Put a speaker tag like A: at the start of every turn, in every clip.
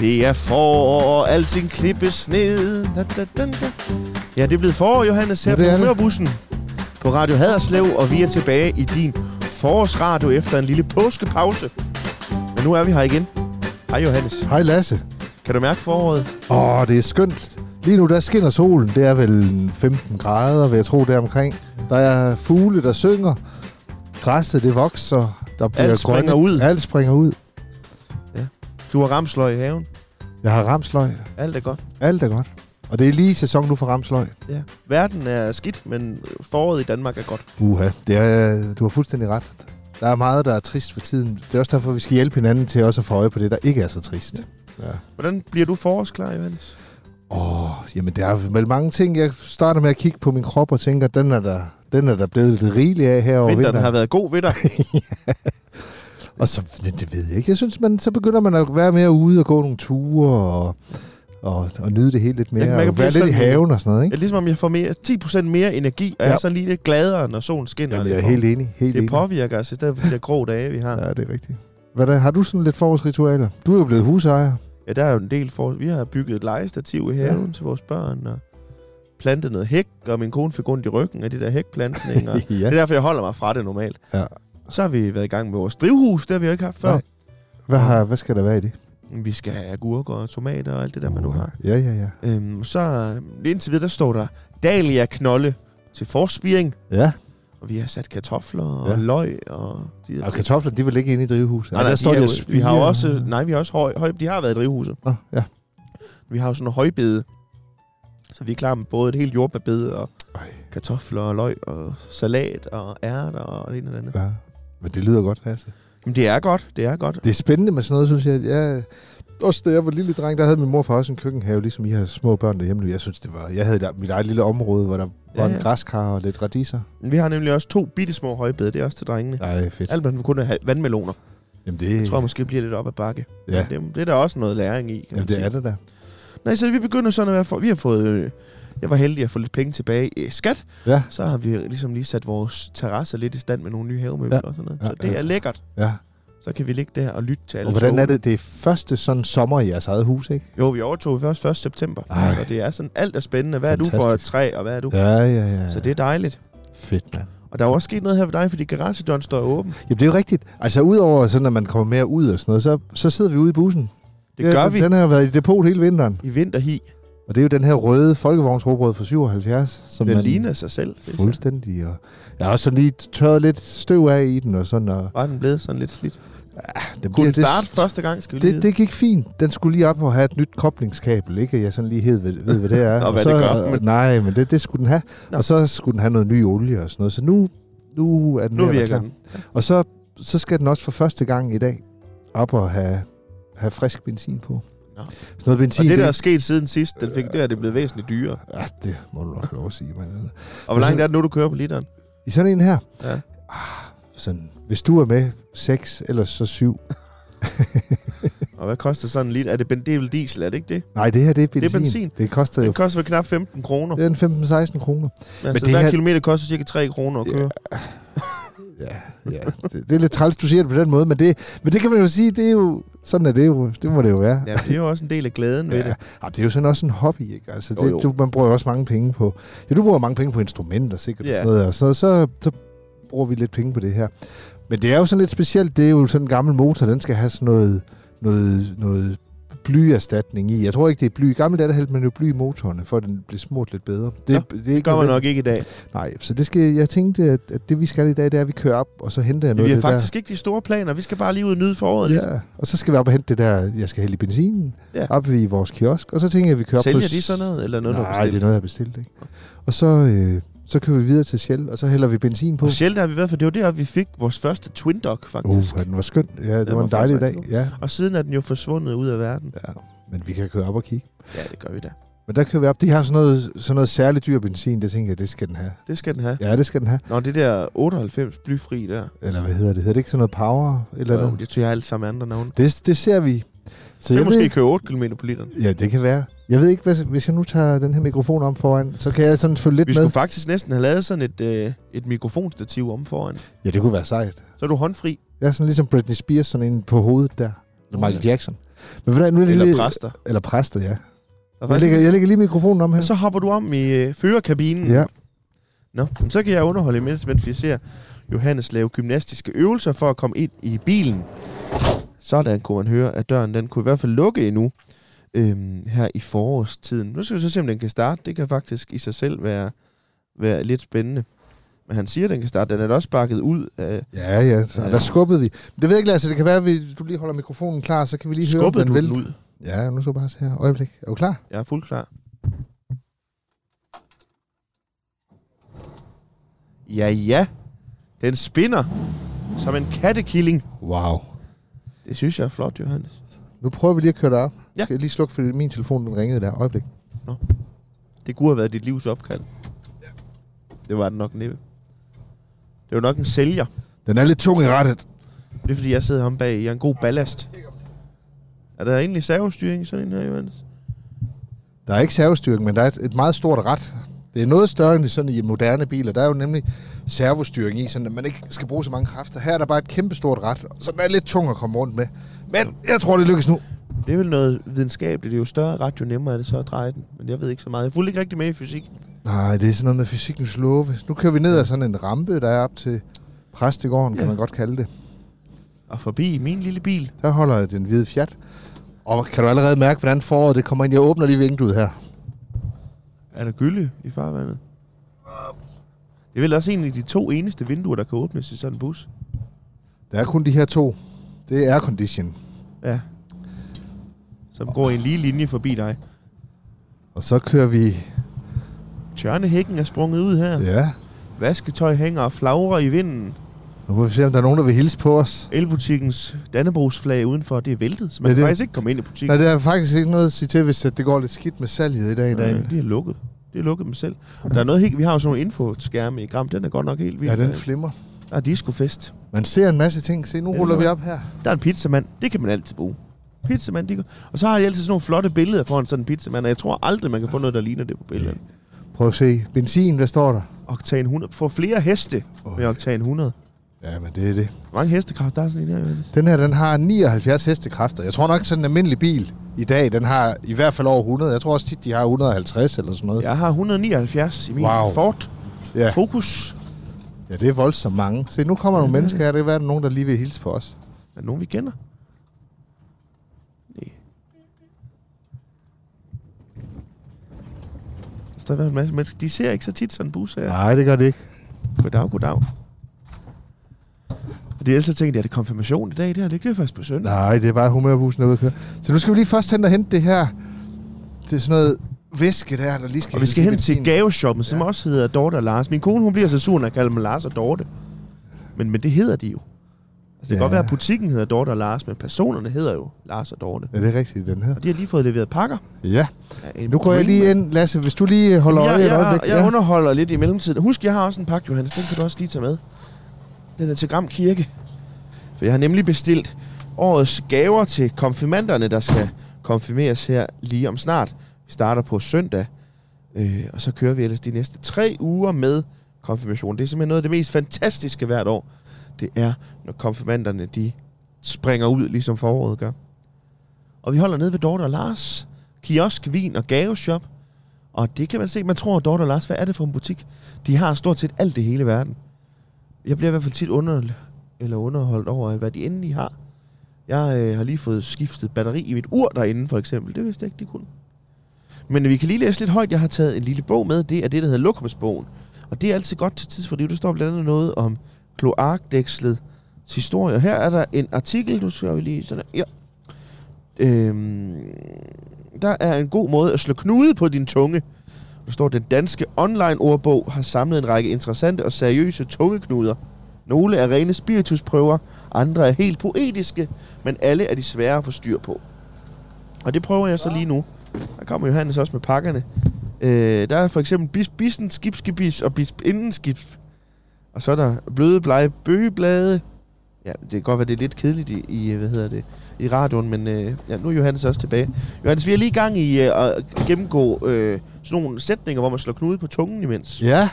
A: Det er forår, og alting klippes ned. Da, da, da, da. Ja, det er blevet forår, Johannes, her
B: Ja, det
A: på
B: er det.
A: Humørbussen. På Radio Haderslev, og vi er tilbage i din forårsradio efter en lille påskepause. Men nu er vi her igen. Hej Johannes,
B: Hej Lasse.
A: kan du mærke foråret?
B: Åh, det er skønt. Lige nu, der skinner solen. Det er vel 15 grader, vil jeg tro, der omkring. Der er fugle, der synger. Græsset, det vokser. Der bliver
A: Alt springer
B: grønne-
A: ud.
B: Alt springer ud.
A: Du har ramsløg i haven.
B: Jeg har ramsløg.
A: Alt er godt.
B: Alt er godt. Og det er lige sæson nu for ramsløg.
A: Ja. Verden er skidt, men foråret i Danmark er godt.
B: Uha, det er, du har fuldstændig ret. Der er meget, der er trist for tiden. Det er også derfor, vi skal hjælpe hinanden til også at få øje på det, der ikke er så trist. Ja.
A: Hvordan bliver du forårsklar, Johannes?
B: Åh, oh, jamen der er vel mange ting. Jeg starter med at kigge på min krop og tænker, den er der, den er der blevet lidt rigelig af her over
A: Vinteren
B: vinteren.
A: har været god ved dig.
B: Og så, det, det ved jeg ikke. Jeg synes, man, så begynder man at være mere ude og gå nogle ture og, og, og nyde det hele lidt
A: kan
B: mere.
A: mærke, at
B: og være
A: blive
B: lidt i
A: sådan-
B: haven og sådan noget,
A: Det
B: ikke?
A: er ligesom om jeg får mere, 10% mere energi, og ja.
B: Ja.
A: jeg er sådan lige lidt gladere, når solen skinner.
B: Jamen,
A: lidt
B: jeg er
A: for mig.
B: helt enig. Helt
A: det
B: enig.
A: påvirker os, i stedet for de der grå dage, vi har. Ja,
B: Ja, det er rigtigt. Hvad der, har du sådan lidt forårsritualer? Du er jo blevet husejer.
A: ja der er jo en del for... Vi har bygget et legestativ i haven ja. til vores børn, og plantet noget hæk, og min kone fik ondt i ryggen af de der hækplantninger. ja. Det er derfor, jeg holder mig fra det normalt.
B: Ja.
A: Så har vi været i gang med vores drivhus, det har vi jo ikke haft før.
B: Hvad, har, hvad skal der være i det?
A: Vi skal have agurker og tomater og alt det der, man nu har.
B: Ja, ja, ja.
A: Øhm, så øh, indtil videre, der står der Dahlia Knolle til forspiring.
B: Ja,
A: Og vi har sat kartofler og
B: Ja.
A: løg og... De der
B: og
A: ting.
B: kartofler, de vil ikke ind i drivhuset.
A: Nej,
B: der
A: nej,
B: står
A: de
B: de
A: er
B: og
A: jo, vi har jo
B: spirer.
A: også, nej, vi har også høj, høj, de har været i drivhuset.
B: Nå, ja.
A: Vi har jo sådan en højbede, så vi er klar med både et helt jordbærbede og
B: Ej.
A: kartofler og løg og salat og ærter og det ene og det andet.
B: ja. Men det lyder godt, altså.
A: Men det er godt, det er godt.
B: Det er spændende med sådan noget, synes jeg. jeg også da jeg var lille dreng, der havde min mor for også en køkkenhave, ligesom I har små børn derhjemme. nu. Jeg synes, det var... Jeg havde der, mit eget lille område, hvor der var
A: Ja,
B: ja,
A: ja.
B: en græskar og lidt radiser.
A: Men vi har nemlig også to bitte små højbede, det er også til drengene. Ja.
B: Nej, fedt.
A: Alt man vil kun have vandmeloner.
B: Jamen, det,
A: Jeg tror jeg måske bliver lidt op ad bakke.
B: ja.
A: Men Det, det, er der også noget læring i, kan
B: Jamen,
A: man
B: det
A: sige.
B: er det der.
A: Nej, så vi begynder sådan at være for, vi har fået, øh, jeg var heldig at få lidt penge tilbage i skat.
B: Ja.
A: Så har vi ligesom lige sat vores terrasse lidt i stand med nogle nye havemøbler ja.
B: Ja.
A: og sådan noget.
B: Ja,
A: Så det
B: ja.
A: er lækkert.
B: Ja.
A: Så kan vi ligge der og lytte til alle
B: Og hvordan er
A: togene.
B: det? Det er første sådan sommer i jeres eget hus, ikke?
A: Jo, vi overtog først 1. september.
B: Ej.
A: Og det er sådan, alt er spændende. Hvad Fantastisk. er du for et
B: Fantastisk.
A: træ, og hvad er du? Ja.
B: Ja, ja, ja.
A: Så det er dejligt.
B: Fedt, mand.
A: Og der er jo også sket noget her ved dig, fordi garagedøren står åben.
B: Jamen, det er jo rigtigt. Altså, udover sådan, at man kommer mere ud og sådan noget, så, så sidder vi ude i bussen.
A: Det gør vi
B: Den har været i depot hele vinteren.
A: i vinterhi.
B: Og det er jo den her røde folkevognsrobrød fra 77, som
A: Den
B: man
A: ligner sig selv. synes jeg.
B: fuldstændig. Og jeg har også sådan lige tørret lidt støv af i den og sådan. Og
A: Var den blevet sådan lidt slidt?
B: det,
A: Kunne
B: bliver-
A: den starte
B: det,
A: første gang, skal vi lige
B: Det, det gik fint. Den skulle lige op og have et nyt koblingskabel, ikke? Og Jeg sådan lige hed, ved, ved hvad det er.
A: Og hvad
B: så,
A: det gør, men-
B: Men... Nej, men det, det skulle den have.
A: Nå.
B: Nå. Og så skulle den have noget ny olie og sådan noget. Så nu, nu er den
A: Nu
B: ved at være
A: virker
B: klar.
A: den.
B: Og så, så skal den også for første gang i dag op og have, have frisk benzin på.
A: Nå.
B: Sådan noget benzin,
A: Og det, der er
B: det,
A: sket siden sidst, den fik, det er det blevet væsentligt dyrere.
B: ah, det må du nok have lov at sige. Men,
A: Og hvor langt er det nu, du kører på literen?
B: I sådan en her,
A: Ja.
B: ah, sådan, hvis du er med, 6 eller så 7.
A: Og hvad koster sådan lidt? Er det, ben, det er vel diesel, er det ikke det?
B: Nej, det her, det er benzin.
A: benzin.
B: Det koster jo
A: Det koster vel knap 15 kroner.
B: det er en 15-16 kroner.
A: Altså,
B: det
A: hver
B: her-
A: kilometer koster cirka 3 kroner at
B: Ja.
A: køre.
B: Ja, ja. Det, det er lidt træls, du siger det på den måde, men det, men det kan man jo sige, det er jo, sådan er det jo, det må det jo være.
A: Ja, det er jo også en del af glæden ved det.
B: Ja, det er jo sådan også en hobby, ikke? Altså,
A: Jo,
B: det,
A: jo.
B: Du, man bruger jo også mange penge på... Ja, du bruger mange penge på instrumenter, sikkert,
A: Ja.
B: og sådan noget, og så, så, så bruger vi lidt penge på det her. Men det er jo sådan lidt specielt, det er jo sådan en gammel motor, den skal have sådan noget, noget, noget blyerstatning i. Jeg tror ikke, det er bly. I gamle dage, der hældte man jo bly i motorerne, for at den blev smurt lidt bedre. Det,
A: Nå,
B: er
A: Det
B: ikke
A: gør man
B: nødvendigt.
A: nok ikke i dag.
B: Nej, så det skal, jeg tænkte, at, at det vi skal i dag, det er, at vi kører op, og så henter jeg noget
A: Vi
B: af
A: har
B: det der.
A: faktisk ikke de store planer. Vi skal bare lige ud og nyde foråret. lidt.
B: Ja, og så skal vi op og hente det der, jeg skal hælde i benzinen,
A: Ja.
B: ja. op i vores kiosk, og så tænker jeg, at vi kører op
A: Sælger
B: på...
A: de sådan noget, eller noget,
B: Nej,
A: du har bestilt?
B: det er noget, jeg har bestilt, ikke? Og så, øh, så kører vi videre til Shell, og så hælder vi benzin på.
A: På Shell, der har vi været, for det var der, vi fik vores første Twin Dog,
B: Uh,
A: faktisk.
B: den var skøn. Ja, det
A: Den
B: var,
A: var
B: en dejlig dag.
A: faktisk rigtig
B: Ja,
A: Og siden er den jo forsvundet ud af verden.
B: ja, men vi kan køre op og kigge.
A: Ja, det gør vi da.
B: Men der kører vi op. De har sådan noget, sådan noget særligt dyr benzin, det tænker jeg, det skal den have.
A: Det skal den have.
B: Ja, det skal den have.
A: Nå, det der 98 blyfri der.
B: Eller hvad hedder det? Hedder det ikke sådan noget power? Eller
A: Jo,
B: noget?
A: det tror jeg alle sammen andre navne.
B: Det, det ser vi. Så
A: Det kan
B: jeg ved
A: måske
B: ikke-
A: køre 8 km på literen.
B: Ja, det kan være. Jeg ved ikke, hvis, hvis jeg nu tager den her mikrofon om foran, så kan jeg sådan følge lidt
A: Vi
B: med.
A: skulle faktisk næsten have lavet sådan et, øh, et mikrofonstativ om foran.
B: Ja, det kunne være sejt.
A: Så er du håndfri.
B: Jeg er sådan ligesom Britney Spears, sådan en på hovedet der. Eller
A: Nå,
B: Michael Jackson. Men hvordan, nu er det
A: Eller
B: lige,
A: præster.
B: Eller præster, ja.
A: Der er
B: Jeg
A: faktisk-
B: lægger, jeg lægger lige mikrofonen om her.
A: Og så hopper du om i øh, førerkabinen.
B: Ja.
A: Nå, men så kan jeg underholde imens, mens vi ser Johannes lave gymnastiske øvelser for at komme ind i bilen. Sådan kunne man høre, at døren den kunne i hvert fald lukke endnu øhm, her i forårstiden. Nu skal vi så se, om den kan starte. Det kan faktisk i sig selv være, være lidt spændende. Men han siger, at den kan starte. Den er da også sparket ud af...
B: Ja, ja. Så,
A: Ja.
B: der skubbede vi. Men det ved jeg ikke, Lasse. Det kan være, at vi, du lige holder mikrofonen klar, så kan vi lige
A: Skubbede
B: høre,
A: du
B: om den
A: den
B: vil.
A: ud?
B: Ja, nu skal jeg bare se her. Øjeblik. Er du klar?
A: Jeg er fuldt klar. Ja, ja. Den spinner som en kattekilling.
B: Wow.
A: Det synes jeg er flot, Johannes.
B: Nu prøver vi lige at køre dig op.
A: Ja.
B: Ja. Skal jeg lige slukke, fordi min telefon den ringede der. Øjeblik.
A: Det kunne have været dit livs opkald. Ja. Det var den nok næppe. Det var nok en sælger.
B: Den er lidt tung i rettet.
A: Det er fordi, jeg sidder ham bag. Jeg er en god ballast. Er der egentlig servostyring i sådan en her, Johannes?
B: Der er ikke servostyring, men der er et, et meget stort ret. Det er noget større end i sådan i moderne biler. Der er jo nemlig servostyring i, sådan at man ikke skal bruge så mange kræfter. Her er der bare et kæmpestort ret, så den er lidt tung at komme rundt med. Men jeg tror, det lykkes nu.
A: Det er vel noget videnskabeligt. Det er jo større ret, jo nemmere er det så at dreje den. Men jeg ved ikke så meget. Jeg fulgte ikke rigtig med i fysik.
B: Nej, det er sådan noget med fysikkens love. Nu kører vi ned ad sådan en rampe, der er op til præstegården, ja.
A: Ja.
B: kan man godt kalde det.
A: Og forbi min lille bil.
B: Der holder jeg den hvide fjat. Og kan du allerede mærke, hvordan foråret det kommer ind? Jeg åbner lige vinduet her.
A: Er der gylde i farvandet? Det er vel også egentlig de to eneste vinduer, der kan åbnes i sådan en bus.
B: Der er kun de her to. Det er aircondition.
A: Ja. Som går i en lige linje forbi dig.
B: Og så kører vi...
A: Tjørnehækken er sprunget ud her.
B: Ja.
A: Vasketøj hænger og flagrer i vinden.
B: Nu må vi se, om der er nogen, der vil hilse på os.
A: Elbutikkens Dannebrogsflag udenfor, det er væltet, så man
B: Ja,
A: kan
B: det-
A: faktisk ikke komme ind i butikken.
B: Nej, der er faktisk ikke noget at sige til, hvis at det går lidt skidt med salget i dag.
A: Øh,
B: Ja,
A: de er lukket. Det er lukket dem selv. Og der er noget helt, vi har jo sådan nogle infoskærme i Gram, den er godt nok helt vild.
B: ja den flimmer.
A: Der er discofest.
B: Man ser en masse ting. Se, nu
A: Ja,
B: ruller
A: så-
B: vi op her.
A: Der er en pizzamand, det kan man altid bruge. Pizzamand, de kan... Og så har de altid sådan nogle flotte billeder foran sådan en pizzamand, og jeg tror aldrig, man kan få noget, der ligner det på billederne.
B: Prøv at se. Benzin, hvad står der?
A: Octane 100. Få flere heste med Octane 100.
B: Ja, men det er det.
A: Hvor mange hestekraft der er sådan en her? Johannes?
B: Den her, den har 79 hestekræfter. Jeg tror nok, sådan en almindelig bil i dag, den har i hvert fald over 100. Jeg tror også tit, de har 150 eller sådan noget. Ja,
A: Jeg har 179 i min
B: Wow.
A: Ford
B: ja.
A: Focus.
B: ja det er voldsomt mange. Se, nu kommer nogle mennesker her. Det kan være, der er nogen, der lige vil hilse på os.
A: Er der nogen, vi kender? Nej. Der står i hvert fald en masse mennesker. De ser ikke så tit sådan en bus her.
B: Nej, det gør det ikke.
A: Goddag, goddag. Og det er så tænkte jeg, er det konfirmation i dag? Det her, det er ikke det først på søndag.
B: Nej, det er bare humørbussen, der er ude at køre. Så nu skal vi lige først hen og hente det her. Det er sådan noget væske der, der lige skal
A: Og vi skal
B: hældes i
A: hen til
B: benzin.
A: gaveshoppen, som
B: Ja.
A: også hedder Dorte og Lars. Min kone, hun bliver så sur, når jeg kalder dem Lars og Dorte. Men, men det hedder de jo. Altså, det kan
B: Ja.
A: godt være, at butikken hedder Dorte og Lars, men personerne hedder jo Lars og Dorte.
B: Ja, det er rigtigt, den her.
A: Og de har lige fået leveret pakker.
B: Ja,
A: af en
B: nu går jeg lige
A: Greenman.
B: ind. Lasse, hvis du lige holder øje
A: Jeg,
B: et
A: jeg,
B: øjeblik.
A: jeg underholder lidt i mellemtiden. Husk, jeg har også en pakke, Johannes. Den kan du også lige tage med. Den er til Gram Kirke. For jeg har nemlig bestilt årets gaver til konfirmanderne, der skal konfirmeres her lige om snart. Vi starter på søndag, øh, og så kører vi ellers de næste tre uger med konfirmation. Det er simpelthen noget af det mest fantastiske hvert år. Det er, når konfirmanderne de springer ud, ligesom foråret gør. Og vi holder nede ved Dorte og Lars. Kiosk, vin og gaveshop. Og det kan man se. Man tror, at Dorte og Lars, hvad er det for en butik? De har stort set alt det hele verden. Jeg bliver i hvert fald tit under, eller underholdt over, hvad de endelig har. Jeg øh, har lige fået skiftet batteri i mit ur derinde, for eksempel. Det vidste jeg ikke, de kunne. Men vi kan lige læse lidt højt. Jeg har taget en lille bog med. Det er det, der hedder Lokumsbogen. Og det er altid godt til tidsfordriv. Der står blandt andet noget om kloakdækslets historie. Og her er der en artikel, du skal vi lige sådan her. Ja. Øhm, der er en god måde at slå knude på din tunge. Der står, den danske online-ordbog har samlet en række interessante og seriøse tungeknuder. Nogle er rene spiritusprøver, andre er helt poetiske, men alle er de svære at få styr på. Og det prøver jeg så lige nu. Der kommer Johannes også med pakkerne. Øh, der er for eksempel bis, bissen, skibskibis og bis, inden skibs. Og så er der bløde, blege bøgeblade. Ja, det kan godt være, det er lidt kedeligt i, i hvad hedder det, i radioen, men øh, ja, nu er Johannes også tilbage. Johannes, vi er lige i gang i øh, at gennemgå øh, sådan nogle sætninger, hvor man slår knude på tungen imens.
B: Ja,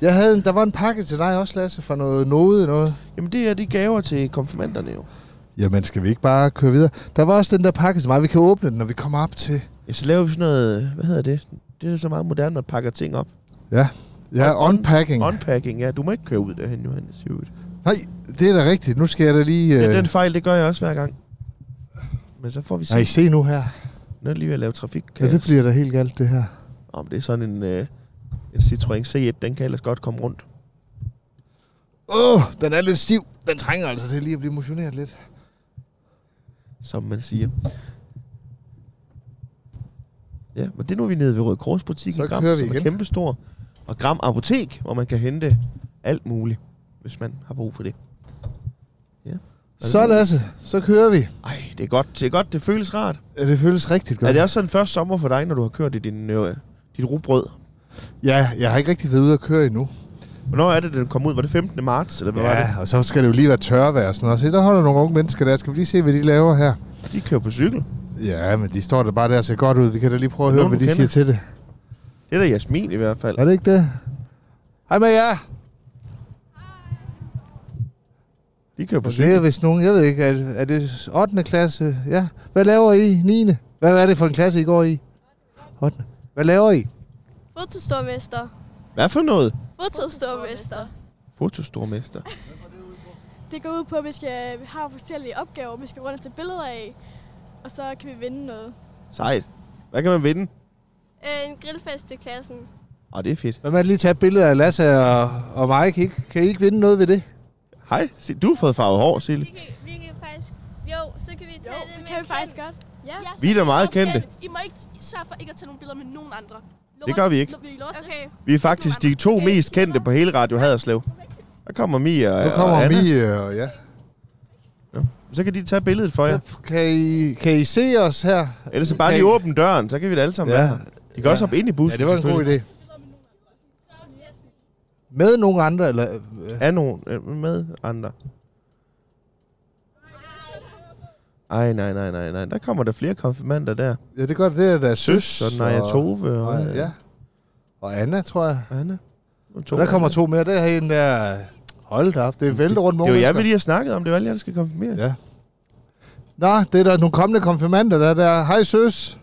B: jeg havde en, der var en pakke til dig også, Lasse, fra noget noget noget.
A: Jamen, det er de gaver til konfirmanderne jo.
B: Jamen, skal vi ikke bare køre videre? Der var også den der pakke til mig. Vi kan åbne den, når vi kommer op til...
A: Ja, så laver vi sådan noget, hvad hedder det? Det er så meget moderne, når man pakker ting op.
B: Ja,
A: Un-
B: unpacking.
A: Unpacking, ja. Du må ikke køre ud derhen, Johannes. Jo.
B: Nej, det er da rigtigt. Nu skal jeg da lige...
A: Ja,
B: Øh...
A: den fejl, det gør jeg også hver gang. Men så får vi se.
B: Nej, se nu her.
A: Nu er det lige ved at lave trafik.
B: Ja, det bliver da helt galt, det her.
A: Om det er sådan en, øh, en Citroën C1, den kan ellers godt komme rundt.
B: Åh, oh, den er lidt stiv. Den trænger altså til lige at blive motioneret lidt.
A: som man siger. Ja, men det er nu vi er nede ved Røde Kors butik
B: Så
A: i Gram,
B: kører vi
A: som
B: igen.
A: er kæmpestor. Og Gram Apotek, hvor man kan hente alt muligt, hvis man har brug for det.
B: Så Lasse, så kører vi.
A: Ej, det er godt, det, er godt, det føles rart.
B: Ja, det føles rigtig
A: Godt.
B: godt.
A: Er det også sådan første sommer for dig, når du har kørt i din, øh, dit rugbrød?
B: Ja, jeg har ikke rigtig været ude at køre endnu.
A: Hvornår er det, den kom ud? Var det 15. marts, eller hvad ja. var det?
B: Ja, og så skal det jo lige være tørvejr og sådan noget. Se, der holder nogle unge mennesker der. Skal vi lige se, hvad de laver her?
A: De kører på cykel.
B: Ja, men de står der bare der og ser godt ud. Vi kan da lige prøve at
A: Er
B: høre,
A: nogen,
B: hvad
A: du
B: de siger til det.
A: Det er da Jasmin i hvert fald.
B: Er det ikke det? Hej med jer.
A: De kører på
B: Det er
A: cykel.
B: vist nogen, jeg ved ikke, er, er det 8. klasse? Ja. Hvad laver I? 9. Hvad er det for en klasse, I går i? 8. Hvad laver I?
C: Fotostormester.
A: Hvad for noget?
C: Fotostormester.
A: Fotostormester.
C: Det går ud på, at vi, skal, vi har forskellige opgaver, vi skal rundt og tage billeder af. Og så kan vi vinde noget.
A: Sejt. Hvad kan man vinde?
D: Øh, en grillfest til klassen.
A: Åh, det er fedt.
B: Hvad med at lige tage et billede af Lasse og, og Mike? Ikke, kan I ikke vinde noget ved det?
A: Hej, se, du har fået farvet hår, Sille.
D: Vi kan, vi kan faktisk... Jo, så kan vi tage det
C: det
D: med
C: kan
D: Ken.
C: vi faktisk godt. Ja.
E: Ja, så
A: Vi er da meget
E: I også
A: kendte.
E: skal- I må ikke sørge for ikke at tage nogle billeder med nogen andre. Lover
A: Det gør vi ikke.
E: Vil I låse det?
D: Okay.
A: Vi er faktisk de to mest kendte på hele Radio Haderslev. Der kommer Mia og,
B: Nu kommer
A: og Anna.
B: Mie og ja.
A: Så kan de tage billedet for jer.
B: Så kan I, kan I se os her?
A: Ellers så bare
B: kan
A: lige
B: I-
A: åbne døren, så kan vi det alle sammen
B: Ja.
A: ja. De kan også hoppe ind i
B: Ja,
A: bussen.
B: det var en god idé. Med nogen andre, eller... øh,
A: Er nogen øh, med andre? Ej, nej, nej, nej, nej. Der kommer der flere konfirmander der.
B: Ja, det gør det. Det er der Søs
A: Søs og Naja Tove og,
B: og, ja. og Anna, tror jeg.
A: og Anna. Og
B: Og der kommer to mere. Der er en der... Hold da op, det er væltet rundt med
A: Det er jo
B: unge
A: jeg, vi
B: mennesker.
A: lige har snakket om. Det er jo alle jer, der skal konfirmeres.
B: Ja. Nå, det er der nogle kommende konfirmander, der er der. Hej, søs.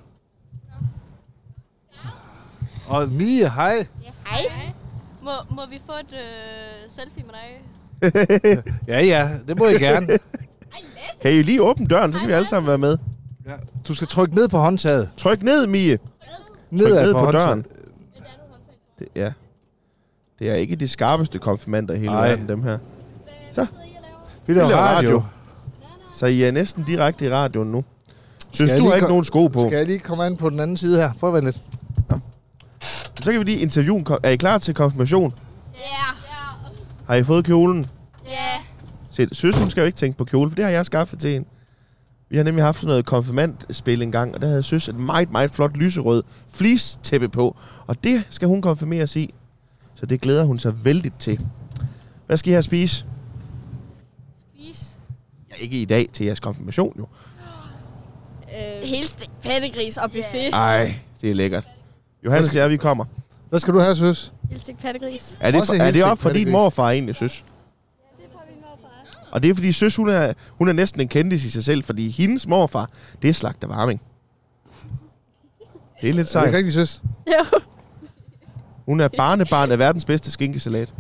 B: Og Mie, hej.
D: Hej. Må, må vi få et øh, selfie med dig?
B: Ja, ja, det må I gerne.
A: Kan I lige åbne døren, så kan vi alle sammen være med.
B: Ja. Du skal trykke ned på håndtaget.
A: Tryk ned, Mie.
B: Nedad
A: ned på
B: håndtaget.
A: døren. Det, ja. Det er ikke de skarpeste konfirmander i hele
B: Ej.
A: Ej. verden, dem her.
B: Vi laver
A: Vi laver
B: radio.
A: radio. Så I er næsten direkte i radioen nu. Synes
B: jeg
A: du
B: lige
A: har ikke
B: ko-
A: nogen sko på?
B: Skal jeg lige komme an på den anden side her? Prøv at vente lidt.
A: Så kan vi lige interviewen. Kom- Er I klar til konfirmation?
D: Ja.
A: Har I fået kjolen?
D: Ja.
A: Se, søs, hun skal jo ikke tænke på kjole, for det har jeg skaffet til hende. Vi har nemlig haft sådan noget konfirmandspil en gang, og der havde søs et meget, meget flot lyserød fleece-tæppe på. Og det skal hun konfirmeres i. Så det glæder hun sig vældigt til. Hvad skal I have at spise?
D: Spis.
A: Ja, ikke i dag til jeres konfirmation jo.
C: Øh, Hele stik pattegris og buffet.
A: Ej, det er lækkert. Johannes og jeg, vi kommer.
B: Hvad skal du have, søs?
C: Hele pattegris.
A: Er det,
B: Også
A: for, er det
B: helsigt,
A: op for din
B: Palle Gris.
A: morfar egentlig, søs? Og det er fordi søs, hun er, hun er næsten en kendis i sig selv, fordi hendes morfar, det er slagter varming. Det er lidt
B: Er det
A: sejt.
B: ikke rigtigt, søs?
C: Jo.
A: Hun er barnebarn af verdens bedste skinkesalat.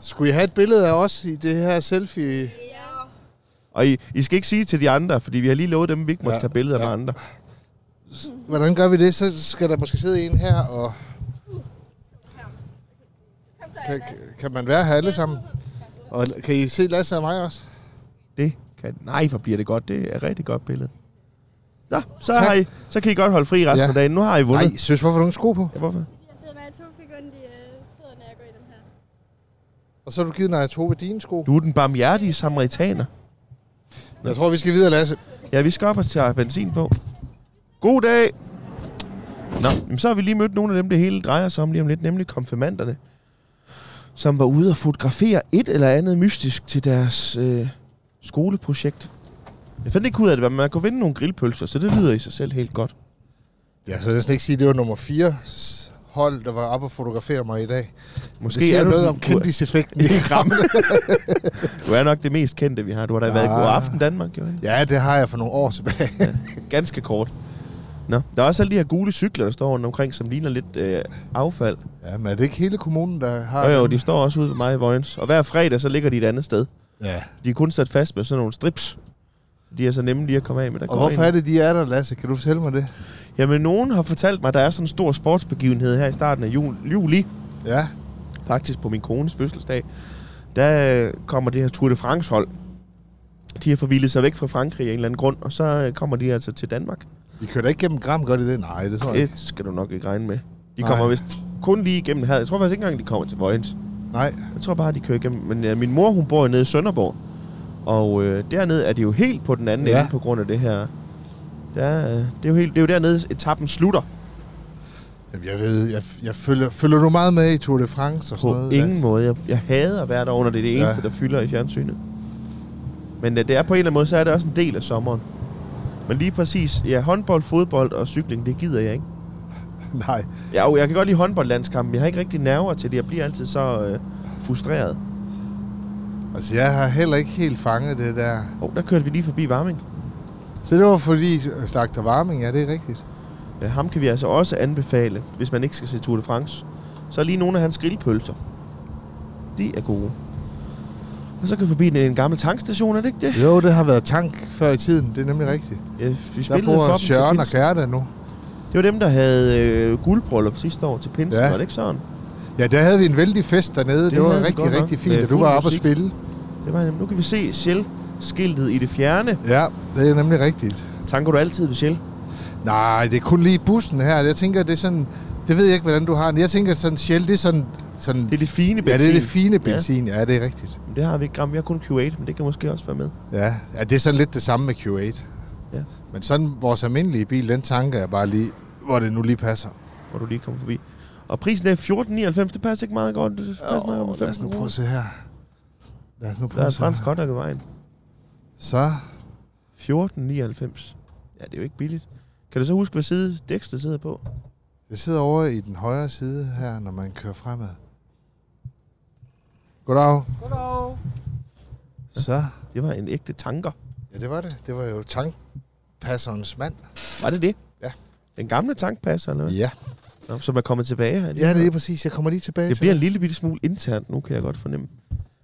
B: Skulle I have et billede af os i det her selfie?
A: Og I, I skal ikke sige til de andre, fordi vi har lige lovet dem, at vi ikke må
B: Ja,
A: ja, tage billeder ja.
B: ja.
A: med andre.
B: Hvordan gør vi det? Så skal der måske sidde en her, og... Kan, kan man være her alle sammen? Og kan I se Lasse og mig også?
A: Det kan... Nej, hvor bliver det godt. Det er et rigtig godt billede. Nå, så,
B: Tak.
A: har I, så kan I godt holde fri resten
B: Ja.
A: ja. af dagen. Nu har I vundet.
B: Nej, søs, hvorfor har du ikke sko på?
A: Ja, hvorfor?
D: Den er to figurer, de øh, fødder, når jeg går i dem her.
B: Og så har du givet Naja Tove dine sko.
A: Du er den barmhjertige samaritaner.
B: Jeg tror, vi skal videre, Lasse.
A: Ja, vi skal op og tage benzin på. God dag! Nå, jamen, så har vi lige mødt nogle af dem, det hele drejer sig om lige om lidt, nemlig konfirmanderne, som var ude og fotografere et eller andet mystisk til deres øh, skoleprojekt. Jeg fandt ikke ud af det, men man kunne vinde nogle grillpølser, så det lyder i sig selv helt godt.
B: Jeg så næsten ikke sige, at det var nummer 4. hold, der var oppe og fotografere mig i dag.
A: Måske
B: Det siger
A: er du,
B: noget om
A: du, er-
B: kendiseffekten i rammen.
A: du er nok det mest kendte, vi har. Du har da været i God
B: Ah.
A: Aften Danmark, jo. ikke?
B: ja, det har jeg for nogle år tilbage.
A: Ganske kort. Nå, der er også alle de her gule cykler, der står rundt omkring, som ligner lidt øh, affald.
B: Ja, men er det ikke hele kommunen, der har
A: Jo, jo,
B: dem?
A: de står også ude ved mig i Vojens. Og hver fredag, så ligger de et andet sted.
B: Ja.
A: De er kun sat fast med sådan nogle strips. De er så nemme lige at komme af med. Der
B: Og
A: går
B: hvorfor
A: en-
B: er det, de er der, Lasse? Kan du fortælle mig det?
A: Jamen, nogen har fortalt mig, at der er sådan en stor sportsbegivenhed her i starten af jul, juli.
B: Ja.
A: Faktisk på min kones fødselsdag. Der øh, kommer det her Tour de France-hold. De har forvildet sig væk fra Frankrig af en eller anden grund, og så øh, kommer de altså til Danmark.
B: De kører da ikke gennem Gram, gør de det? Nej, det tror jeg ikke.
A: Det skal du nok ikke regne med. De
B: Nej.
A: kommer vist kun lige igennem her. Jeg tror faktisk ikke engang, de kommer til Vojens.
B: Nej.
A: Jeg tror bare, de kører igennem. Men ja, min mor, hun bor jo nede i Sønderborg. Og øh, dernede er det jo helt på den anden
B: Ja.
A: ja. ende på grund af det her. Der, øh, det, er jo helt, det er jo dernede, etappen slutter.
B: Jamen, jeg ved, jeg, jeg følger, følger du meget med i Tour de France og sådan
A: På
B: noget?
A: ingen
B: Lasse?
A: måde. Jeg, jeg hader at være der under det. Det er det
B: Ja.
A: eneste, der fylder i fjernsynet. Men øh, det er på en eller anden måde, så er det også en del af sommeren. Men lige præcis, ja, håndbold, fodbold og cykling, det gider jeg ikke.
B: Nej.
A: Ja, jo, jeg kan godt lide håndboldlandskampen. Jeg har ikke rigtig nerver til det. Jeg bliver altid så øh, frustreret.
B: Altså, jeg har heller ikke helt fanget det der.
A: Åh, oh, der kørte vi lige forbi Varming.
B: Så det var fordi Slagter Varming, ja, det er rigtigt.
A: Ja, ham kan vi altså også anbefale, hvis man ikke skal se Tour de France. Så er lige nogle af hans grillpølser. De er gode. Og så kan vi forbi en, en gammel tankstation, er det ikke det?
B: Jo, det har været tank før i tiden, det er nemlig rigtigt.
A: Ja, vi
B: Der
A: spillede for
B: bor
A: dem til
B: Sjøren og
A: Pinsen.
B: Gerda nu.
A: Det var dem, der havde øh, guldbryllup sidste år til Pinsen,
B: Ja.
A: ja. var det ikke sådan?
B: Ja, der havde vi en vældig fest dernede. Det,
A: Det
B: det var
A: havde vi
B: rigtig,
A: godt nok.
B: rigtig fint,
A: Med
B: og du
A: fuld
B: var oppe og
A: musik.
B: spille.
A: Det var, nu kan vi se Shell-skiltet i det fjerne.
B: Ja, det er nemlig rigtigt.
A: Tanker du altid ved Shell?
B: Nej, det er kun lige bussen her. Jeg tænker, det er sådan... Det ved jeg ikke, hvordan du har den. Jeg tænker sådan, Shell, det er sådan... sådan
A: Det er det fine benzin.
B: ja, det er det fine benzin. Ja, det er rigtigt.
A: Ja, det har vi ikke gram. Vi har kun Q8, men det kan måske også være med.
B: Ja. ja, det er sådan lidt det samme med Q8.
A: Ja.
B: Men sådan vores almindelige bil, den tanker jeg bare lige, hvor det nu lige passer.
A: hvor du lige kommer forbi. Og prisen er 14,99. Det passer ikke meget godt. Det passer oh, meget
B: Åh,
A: godt
B: lad os nu prøve at se her. Lad os nu
A: Der
B: prøve
A: er
B: at
A: et
B: se her.
A: fransk hotdog i vejen.
B: Så,
A: 14,99. Ja, det er jo ikke billigt. Kan du så huske, hvad side dækslet sidder på?
B: jeg sidder over i den højre side her, når man kører fremad. Goddag.
F: Goddag.
B: Så.
A: Det var en ægte tanker.
B: Ja, det var det. Det var jo tankpasserens mand.
A: Var det det?
B: Ja.
A: Den gamle tankpasser, eller hvad?
B: Ja.
A: Nå, som er kommet tilbage her.
B: Ja, det er præcis. Jeg kommer lige tilbage
A: det
B: til
A: bliver en lille bitte smule internt nu, kan jeg godt fornemme.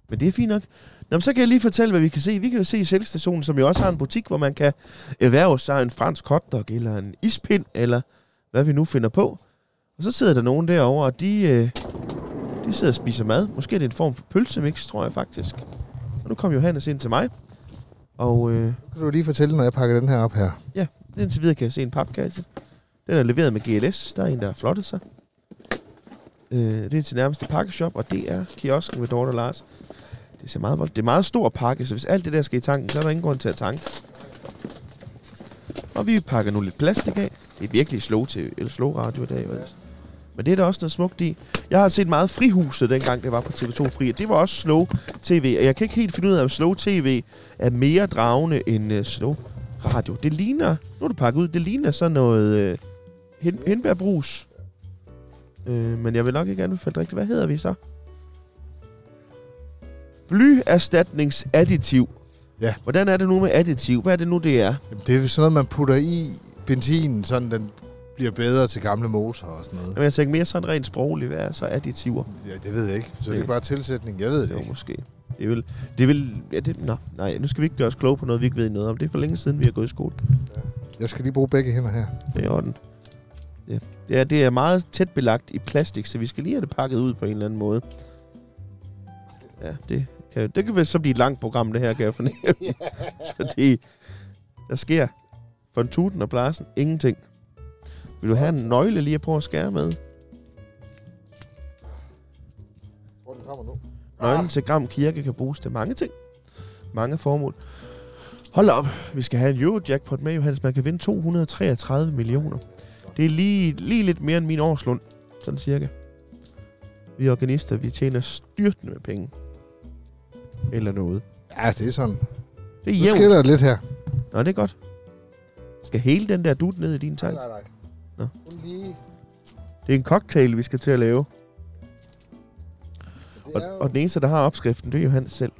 A: Men det er fint nok. Nå, men så kan jeg lige fortælle, hvad vi kan se. Vi kan jo se i selvstationen, som jo også har en butik, hvor man kan erhverve sig en fransk hotdog, eller en ispind, eller hvad vi nu finder på. Og så sidder der nogen derovre, og de, øh, de sidder og spiser mad. Måske er det en form for pølsemix, tror jeg faktisk. Og nu kom Johannes ind til mig. Og øh,
B: Kan du lige fortælle, når jeg pakker den her op her?
A: indtil videre kan jeg se en papkasse. Den er leveret med GLS. Der er en, der har flottet sig. Øh, det er til nærmeste pakkeshop, og det er kiosken ved Dorte og Lars. Det ser meget voldt. Det er en meget stor pakke, så hvis alt det der skal i tanken, så er der ingen grund til at tanke. Og vi pakker nu lidt plastik af. Det er virkelig slow, til, eller slow radio i dag. Vel? Men det er der også noget smukt i. Jeg har set meget Frihuset, dengang det var på TV2 Fri, og det var også slow tv. Og jeg kan ikke helt finde ud af, om slow tv er mere dragende end uh, slow radio. Det ligner, nu er det pakket ud, det ligner sådan noget uh, hen, henbærbrus. Øh, men jeg vil nok ikke anbefale det rigtigt. Hvad hedder vi så? Blyerstatningsadditiv.
B: Ja.
A: Hvordan er det nu med additiv? Hvad er det nu, det er?
B: Jamen, det er jo sådan noget, man putter i benzinen, sådan den bliver bedre til gamle motorer og sådan noget.
A: Jamen, jeg tænker mere sådan rent sprogligt. Hvad er så additiver?
B: Ja, det ved jeg ikke. Så det er
A: Det-
B: bare tilsætning. Jeg ved det
A: Jo,
B: ikke.
A: måske. Det vil, det vil, ja, det, nå, nej, nu skal vi ikke gøre os kloge på noget, vi ikke ved noget om. Det er for længe siden, vi har gået i skole.
B: Jeg skal lige bruge begge hænder her.
A: Det er i orden. Ja. Det, er, det er meget tæt belagt i plastik, så vi skal lige have det pakket ud på en eller anden måde. Ja, det kan, det kan vel så blive et langt program, det her, kan jeg fornemme. Fordi der sker for en tuten og blasen ingenting. Vil du have en nøgle lige at prøve at skære med?
B: Hvor den kommer nu?
A: Nøglen til Gram Kirke kan bruges til mange ting. Mange formål. Hold op, vi skal have en Eurojackpot med, Johannes. Man kan vinde 233 millioner. Det er lige, lige lidt mere end min årslund, sådan cirka. Vi organister, vi tjener styrtende med penge. Eller noget.
B: Ja, det er sådan.
A: Det er
B: Nu sker
A: jævnt.
B: der lidt her.
A: Nå, det er godt. Skal hele den der dut ned i din tank?
B: nej.
A: Nå.
B: Kun lige
A: Det er en cocktail, vi skal til at lave.
B: Det
A: Og,
B: er jo-
A: og den eneste, der har opskriften, det er Johannes selv.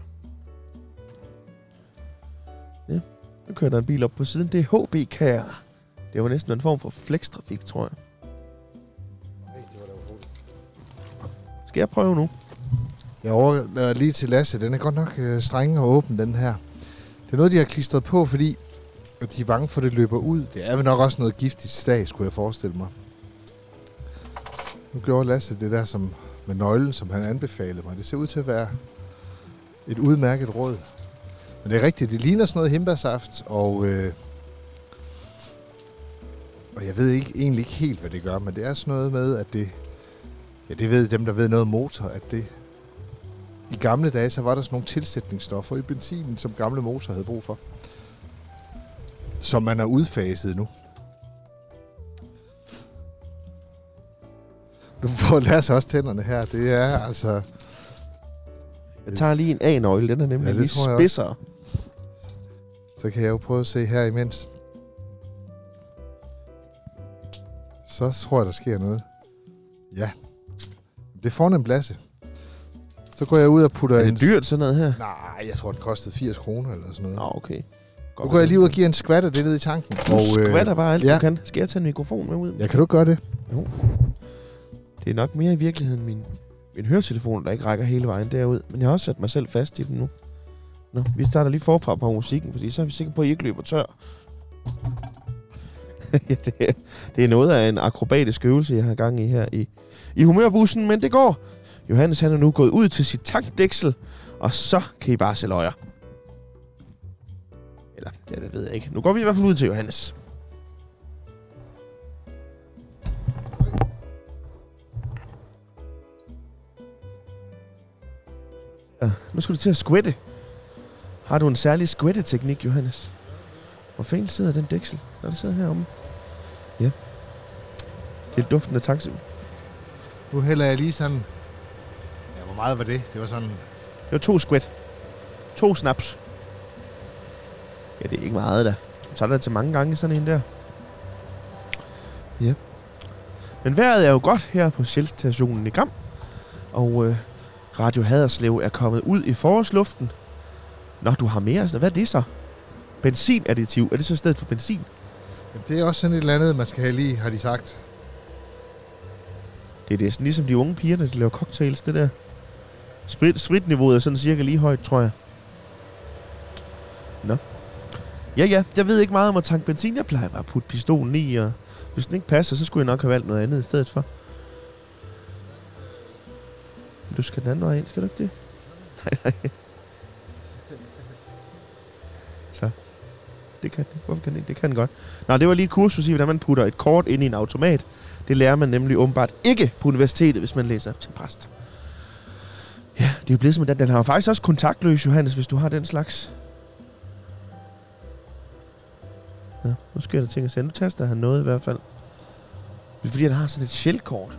A: Ja, nu kører der en bil op på siden. Det er HB Kær. Det var næsten en form for flextrafik, tror jeg.
B: Ej, det var da utroligt.
A: Skal jeg prøve nu?
B: Jeg overlader lige til Lasse. Den er godt nok øh, streng og åben, den her. Det er noget, de har klistret på, fordi at de er bange for, at det løber ud. Det er vel nok også noget giftigt stag, skulle jeg forestille mig. Nu gjorde Lasse det der som med nøglen, som han anbefalede mig. Det ser ud til at være et udmærket råd. Men det er rigtigt, det ligner sådan noget himbærsaft, og, øh, og jeg ved ikke, egentlig ikke helt, hvad det gør, men det er sådan noget med, at det, ja, det ved dem, der ved noget om motor, at det, i gamle dage, så var der sådan nogle tilsætningsstoffer i benzinen, som gamle motorer havde brug for. Som man har udfaset nu. Nu får Lasse også tænderne her. Det er altså...
A: Jeg tager lige en A-nøgle. Den er nemlig ja,
B: Ja, det
A: lige
B: tror jeg også.
A: spidsere.
B: Så kan jeg jo prøve at se her imens. Så tror jeg, der sker noget. Ja. Det er fornemt, Lasse. Så går jeg ud og putter
A: Er
B: en...
A: det dyrt, sådan noget her?
B: Nej, jeg tror, den kostede 80 kroner eller sådan noget.
A: Nå, okay.
B: Nu går jeg lige ud og giver en skvat af det ned i tanken.
A: Du skvatter bare alt, ja.
B: ja.
A: du kan. Skal jeg tage en mikrofon med ud?
B: Ja, kan du ikke gøre det?
A: Det er nok mere i virkeligheden min, min høretelefon, der ikke rækker hele vejen derud. Men jeg har også sat mig selv fast i den nu. Nå, vi starter lige forfra på musikken, fordi så er vi sikre på, at I ikke løber tør. ja, det, er- det er noget af en akrobatisk øvelse, jeg har gang i her i, i humørbussen, men det går. Johannes han er nu gået ud til sit tankdæksel, og så kan I bare se løjer. Eller, ja, det ved jeg ikke. Nu går vi i hvert fald ud til Johannes. Ja, nu skal du til at squitte. Har du en særlig squitte-teknik, Johannes? Hvor fanden sidder den dæksel? Når den sidder heromme. Ja. Det er duften af taxi. Det
B: Nu hælder jeg lige sådan... Ja, hvor meget var det? Det var sådan...
A: var to squat. To snaps. Ja, det er ikke meget, da. Så er der til mange gange sådan en der. Ja. Men vejret er jo godt her på Shell-stationen i Gram. Og øh, Radio Haderslev er kommet ud i forårsluften. Nå, du har mere. altså. Hvad er det så? Benzinadditiv. Er det så stedet for benzin?
B: Jamen, det er også sådan et eller andet, man skal have lige, har de sagt.
A: Det er det, sådan ligesom de unge piger, der laver cocktails, det der. Sprit, spritniveauet er sådan cirka lige højt, tror jeg. Nå. Ja, ja, jeg ved ikke meget om at tanke benzin. Jeg plejer bare at putte pistolen i, og hvis den ikke passer, så skulle jeg nok have valgt noget andet i stedet for. Du skal den anden vej ind, skal du ikke det? Nej, nej. Så. Det kan den. Hvorfor kan den ikke? Det kan den godt. Nå, det var lige et kursus i, hvordan man putter et kort ind i en automat. Det lærer man nemlig åbenbart ikke på universitetet, hvis man læser til præst. Ja, det er jo blevet som den. Den har jo faktisk også kontaktløs, Johannes, hvis du har den slags. Ja, nu sker der ting at sende. Nu taster han noget i hvert fald. Det er fordi, han har sådan et sjældkort.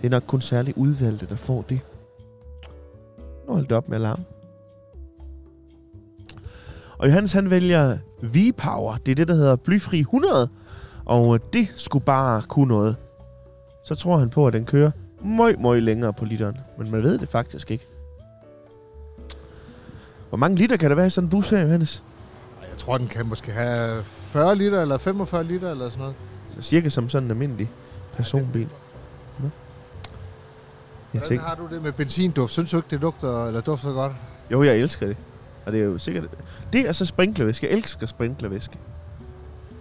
A: Det er nok kun særligt udvalgte, der får det. Nu holdt op med alarm. Og Johannes, han vælger V-Power. Det er det, der hedder blyfri 100. Og øh, det skulle bare kunne noget. Så tror han på, at den kører møj, møj længere på literen. Men man ved det faktisk ikke. Hvor mange liter kan der være i sådan en bus her, Johannes?
B: Ej, Jeg tror, den kan måske have 40 liter eller 45 liter eller sådan noget.
A: Så cirka som sådan en almindelig personbil. Nå. Jeg
B: Hvordan
A: tænker,
B: har du det med benzinduft? Synes du ikke, det lugter, eller dufter godt?
A: jo, jeg elsker det. Og det er jo sikkert... Det er så sprinklervæske. Jeg elsker sprinklervæske.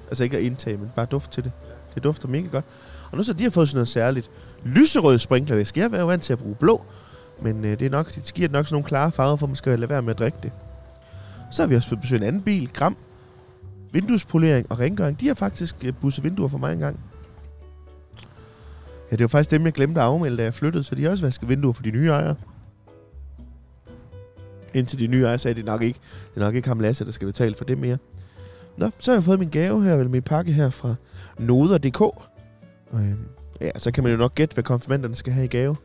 A: Altså ikke at indtage, men bare duft til det. Det dufter mega godt. Og nu så de har fået sådan noget særligt lyserød sprinklervæske. Jeg er jo vant til at bruge blå, men øh, det er nok, det giver nok sådan nogle klare farver, for man skal lade være med at drikke det. Så har vi også fået besøg af en anden bil, Gram. Vinduespolering og rengøring, de har faktisk øh, busset vinduer for mig engang. Ja, det var faktisk dem, jeg glemte at afmelde, da jeg flyttede, så de har også vasket vinduer for de nye ejere. Indtil de nye ejere sagde, det er nok ikke, det er nok ikke ham Lasse, der skal betale for det mere. Nå, så har jeg fået min gave her, eller min pakke her fra noder.dk. Og, øhm, ja, så kan man jo nok gætte, hvad konfirmanderne skal have i gave.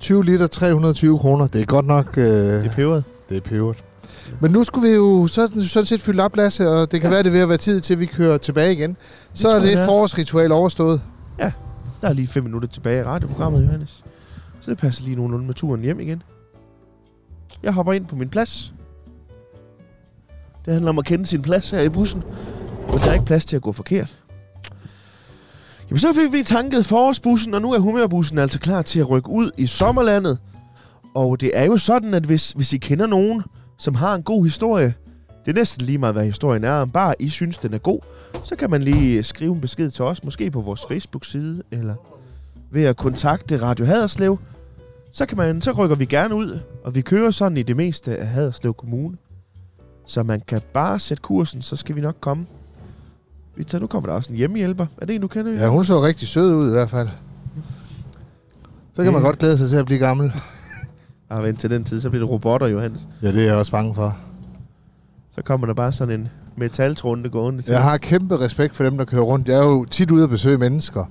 B: 20 liter, 320 kroner. Det er godt nok... Øh,
A: Det er peberet.
B: det er pebert. Men nu skulle vi jo sådan, sådan set fylde op, Lasse, og det kan ja. være, det er ved at være tid til, at vi kører tilbage igen. Så
A: tror
B: er
A: jeg,
B: det
A: det er.
B: forårsritual overstået.
A: Ja. Der er lige 5 minutter tilbage i radioprogrammet, Johannes. Så det passer lige nogenlunde med turen hjem igen. Jeg hopper ind på min plads. Det handler om at kende sin plads her i bussen. Og der er ikke plads til at gå forkert. Jamen, så fik vi tanket forårsbussen, og nu er humørbussen altså klar til at rykke ud i sommerlandet. Og det er jo sådan, at hvis, hvis I kender nogen, som har en god historie, det er næsten lige meget, hvad historien er, om bare I synes, den er god, så kan man lige skrive en besked til os, måske på vores Facebook-side, eller ved at kontakte Radio Haderslev. Så, kan man, så rykker vi gerne ud, og vi kører sådan i det meste af Haderslev Kommune. Så man kan bare sætte kursen, så skal vi nok komme. Vi tager, nu kommer der også en hjemmehjælper. Er det en, du kender?
B: Ja, hun så rigtig sød ud i hvert fald. Så kan man
A: Ja.
B: godt glæde sig til at blive gammel.
A: Ah, vent til den tid, så bliver det robotter, Johannes.
B: Ja, det er jeg også bange for.
A: Så kommer der bare sådan en metaltrunde gående til.
B: Jeg har kæmpe respekt for dem, der kører rundt. Jeg er jo tit ude at besøge mennesker,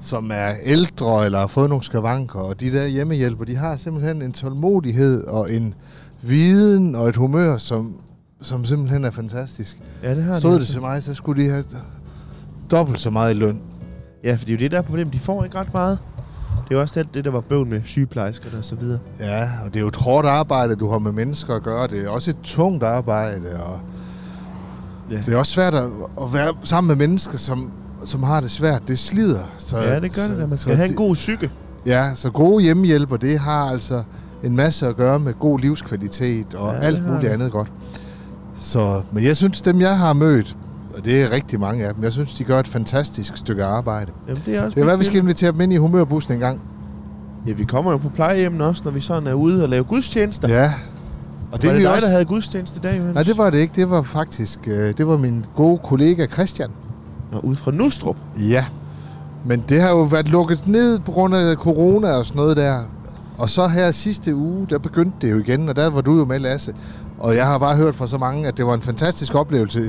B: som er ældre eller har fået nogle skavanker, og de der hjemmehjælper, de har simpelthen en tålmodighed og en viden og et humør, som, som simpelthen er fantastisk.
A: Ja, det har de
B: Stod det
A: altså.
B: til mig, så skulle de have dobbelt så meget i løn.
A: Ja, for det er jo det, der er problemet. De får ikke ret meget. Det er jo også det, det der var bøvl med sygeplejerskerne og så videre.
B: Ja, og det er jo et hårdt arbejde, du har med mennesker at gøre. Det er også et tungt arbejde, og
A: Ja.
B: ja. det er også svært at, at være sammen med mennesker, som, som har det svært. Det slider. Så,
A: Ja, det gør det, da. man skal
B: så
A: have en
B: det-
A: god psyke.
B: Ja, så gode hjemmehjælper, det har altså en masse at gøre med god livskvalitet og
A: Ja,
B: ja,
A: det
B: alt
A: har
B: muligt
A: det.
B: andet godt. Så, men jeg synes, dem jeg har mødt, og det er rigtig mange af dem, jeg synes, de gør et fantastisk stykke arbejde.
A: Jamen, det er også
B: Det er hvad,
A: mit
B: vi skal
A: billede.
B: invitere dem ind i humørbussen en gang.
A: Ja, vi kommer jo på plejehjemmen også, når vi sådan er ude og lave gudstjenester. Ja,
B: Ja. Og det,
A: var
B: vi
A: det dig,
B: også...
A: der havde gudstjeneste i dag, Johannes?
B: Nej, det var det ikke. Det var faktisk, øh, det var min gode kollega Christian.
A: Nå, ude fra Nustrup.
B: Ja. Men det har jo været lukket ned på grund af corona og sådan noget der. Og så her sidste uge, der begyndte det jo igen, og der var du jo med, Lasse. Og jeg har bare hørt fra så mange, at det var en fantastisk oplevelse.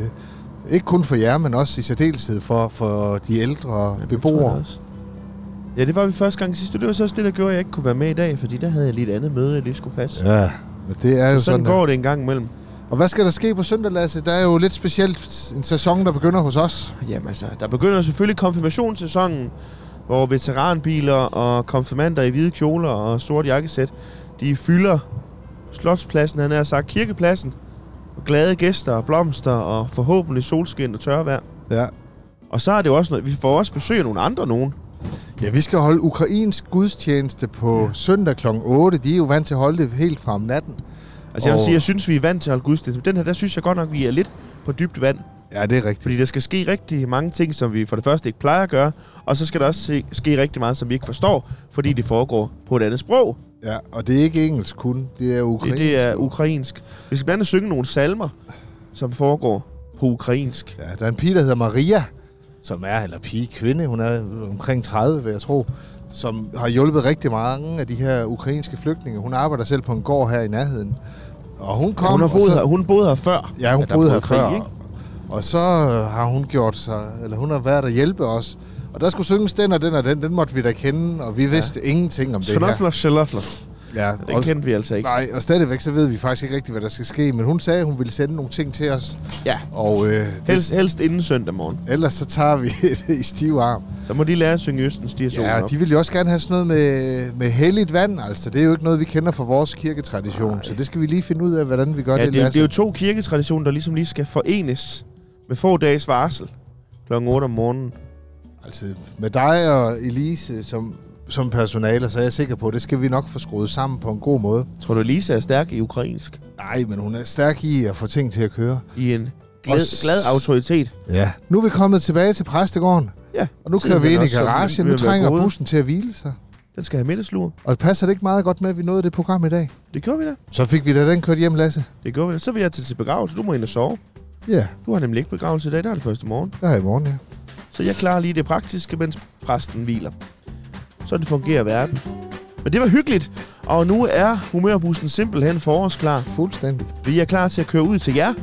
B: Ikke kun for jer, men også i særdeleshed for, for de ældre
A: Ja, det tror jeg
B: beboere.
A: også. Ja, det var vi første gang sidst. Det var så også det, der gjorde, at jeg ikke kunne være med i dag, fordi der havde jeg lige et andet møde, jeg lige skulle passe. Ja,
B: Ja, men det er jo
A: sådan,
B: sådan.
A: sådan
B: at-
A: går det en gang imellem.
B: Og hvad skal der ske på søndag, Lasse? Der er jo lidt specielt en sæson, der begynder hos os.
A: Jamen altså, der begynder selvfølgelig konfirmationssæsonen, hvor veteranbiler og konfirmander i hvide kjoler og sort jakkesæt, de fylder Slotspladsen, han har sagt kirkepladsen, og glade gæster og blomster og forhåbentlig solskin og tørvejr.
B: Ja,
A: Og så er det jo også noget, vi får også besøg af nogle andre nogen.
B: Ja, vi skal holde ukrainsk gudstjeneste på ja. søndag kl. 8. De er jo vant til at holde det helt fra om natten.
A: Altså jeg vil
B: Og-
A: sige, jeg synes, vi er vant til at holde gudstjeneste, men den her, der synes jeg godt nok, vi er lidt på dybt vand.
B: Ja, det er rigtigt.
A: Fordi der skal ske rigtig mange ting, som vi for det første ikke plejer at gøre, og så skal der også se, ske rigtig meget, som vi ikke forstår, fordi det foregår på et andet sprog.
B: Ja, og det er ikke engelsk kun, det er
A: Det,
B: ukrainsk.
A: det er ukrainsk. Vi skal blandt andet synge nogle salmer, som foregår på ukrainsk.
B: Ja, der er en pige, der hedder Maria, som er, eller pige, kvinde, hun er omkring 30, vil jeg tro, som har hjulpet rigtig mange af de her ukrainske flygtninge. Hun arbejder selv på en gård her i nærheden. Og hun kom...
A: Hun, har
B: og
A: boet
B: så-
A: her, hun boede her før.
B: Ja, hun
A: at der
B: boede her
A: brød krig,
B: før.
A: ikke?
B: Og så øh, har hun gjort sig, eller hun har været der hjælpe os. Og der skulle synges den og den og den, den måtte vi da kende, og vi vidste ingenting om det her.
A: Shalafler, shalafler.
B: Ja,
A: Den
B: og,
A: kendte vi altså ikke.
B: nej, og stadigvæk så ved vi faktisk ikke rigtigt, hvad der skal ske, men hun sagde, at hun ville sende nogle ting til os.
A: Ja.
B: Og øh,
A: Helst,
B: det,
A: helst inden søndag morgen.
B: ellers så tager vi det i stiv arm.
A: Så må de lære at synge Østens Diasol
B: Ja,
A: op.
B: de ville jo også gerne have sådan noget med, med helligt vand, altså. Det er jo ikke noget, vi kender fra vores kirketradition, så det skal vi lige finde ud af, hvordan vi gør
A: ja,
B: det,
A: det, er jo- det er jo
B: Lasse.
A: to kirketraditioner, der ligesom lige skal forenes med få dages varsel kl. 8 om morgenen.
B: Altså, med dig og Elise som, som personale, så er jeg sikker på, at det skal vi nok få skruet sammen på en god måde.
A: Tror du, Lisa er stærk i ukrainsk?
B: Nej, men hun er stærk i at få ting til at køre.
A: I en
B: Og
A: glad,
B: s-
A: glad autoritet.
B: Ja. Nu er vi kommet tilbage til præstegården,
A: Ja,
B: og nu
A: Tiden
B: kører vi
A: er
B: ind i
A: nok sådan
B: garagen.
A: ved
B: Nu
A: at være
B: trænger
A: gået.
B: bussen til at hvile sig.
A: den skal have middagslur.
B: Og passer det ikke meget godt med, at vi nåede det program i dag?
A: Det gjorde vi da.
B: Så fik vi da den kørt hjem, Lasse.
A: Det gjorde vi da. Så vil jeg til til begravelse. Du må ind og sove.
B: Ja,
A: Du har nemlig ikke begravelse i dag, der er det første morgen.
B: der er i morgen, ja.
A: Så jeg klarer lige det praktiske, mens præsten hviler. Sådan fungerer verden. Men det var hyggeligt, og nu er humørbussen simpelthen forårsklar.
B: Fuldstændig.
A: Vi er klar til at køre ud til jer.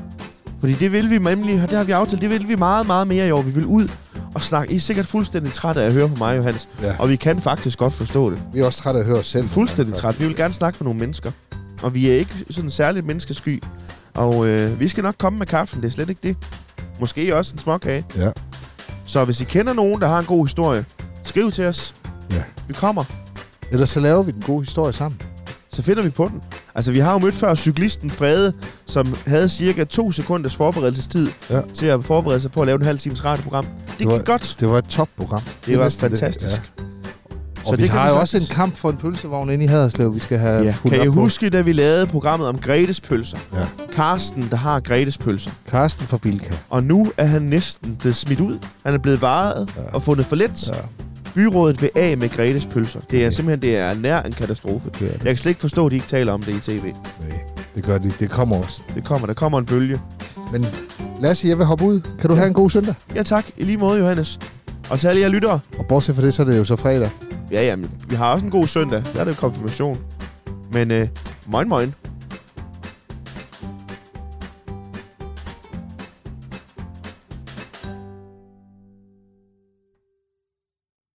A: Fordi det vil vi nemlig, og det har vi aftalt, det vil vi meget, meget mere i år. Vi vil ud og snakke. I er sikkert fuldstændig trætte af at høre på mig, Johannes.
B: Ja.
A: Og vi kan faktisk godt forstå det.
B: Vi er også trætte af at høre os selv. Altså,
A: Fuldstændig trætte. Vi vil gerne snakke med nogle mennesker. Og vi er ikke sådan særligt menneskesky. Og øh, vi skal nok komme med kaffen, det er slet ikke det. Måske også en småkage.
B: Ja.
A: Så hvis I kender nogen, der har en god historie, så Skriv til os.
B: Ja.
A: Vi kommer.
B: Ellers så laver vi den gode historie sammen.
A: Så finder vi på den. Altså, vi har jo mødt før cyklisten Frede, som havde cirka to sekunders forberedelsestid
B: Ja.
A: til at forberede sig på at lave en halv times radioprogram. Det,
B: var-
A: gik godt.
B: Det var et topprogram.
A: Det, var
B: næsten
A: fantastisk.
B: Det.
A: Det,
B: Ja. Og så vi det
A: kan
B: har jo også en
A: sagtens-
B: kamp for en pølsevogn inde i Haderslev, vi skal have
A: Ja.
B: ja. fuldt
A: Kan I
B: op
A: huske, da vi lavede programmet om Gretes pølser?
B: Ja.
A: Karsten, der har Gretes pølser.
B: på. Karsten fra Bilka.
A: Og nu er han næsten blevet smidt ud. Han er blevet varet ja.
B: Ja.
A: og fundet for let. Ja.
B: Ja,
A: Byrådet vil af med Gretes pølser. Det er
B: Okay.
A: simpelthen det er nær en katastrofe.
B: det, er det.
A: Jeg kan slet ikke forstå, at de ikke taler om det i tv.
B: Nej, det gør det. Det kommer også.
A: Det kommer, der kommer en bølge.
B: Men Lasse, jeg vil hoppe ud. Kan du
A: Ja.
B: ja. have en god søndag?
A: Ja tak, i lige måde Johannes. Og til alle jer lyttere.
B: Og bortset fra det, så er det jo så fredag.
A: Ja, jamen, vi har også en god søndag. Der er det konfirmation. Men øh, moin moin.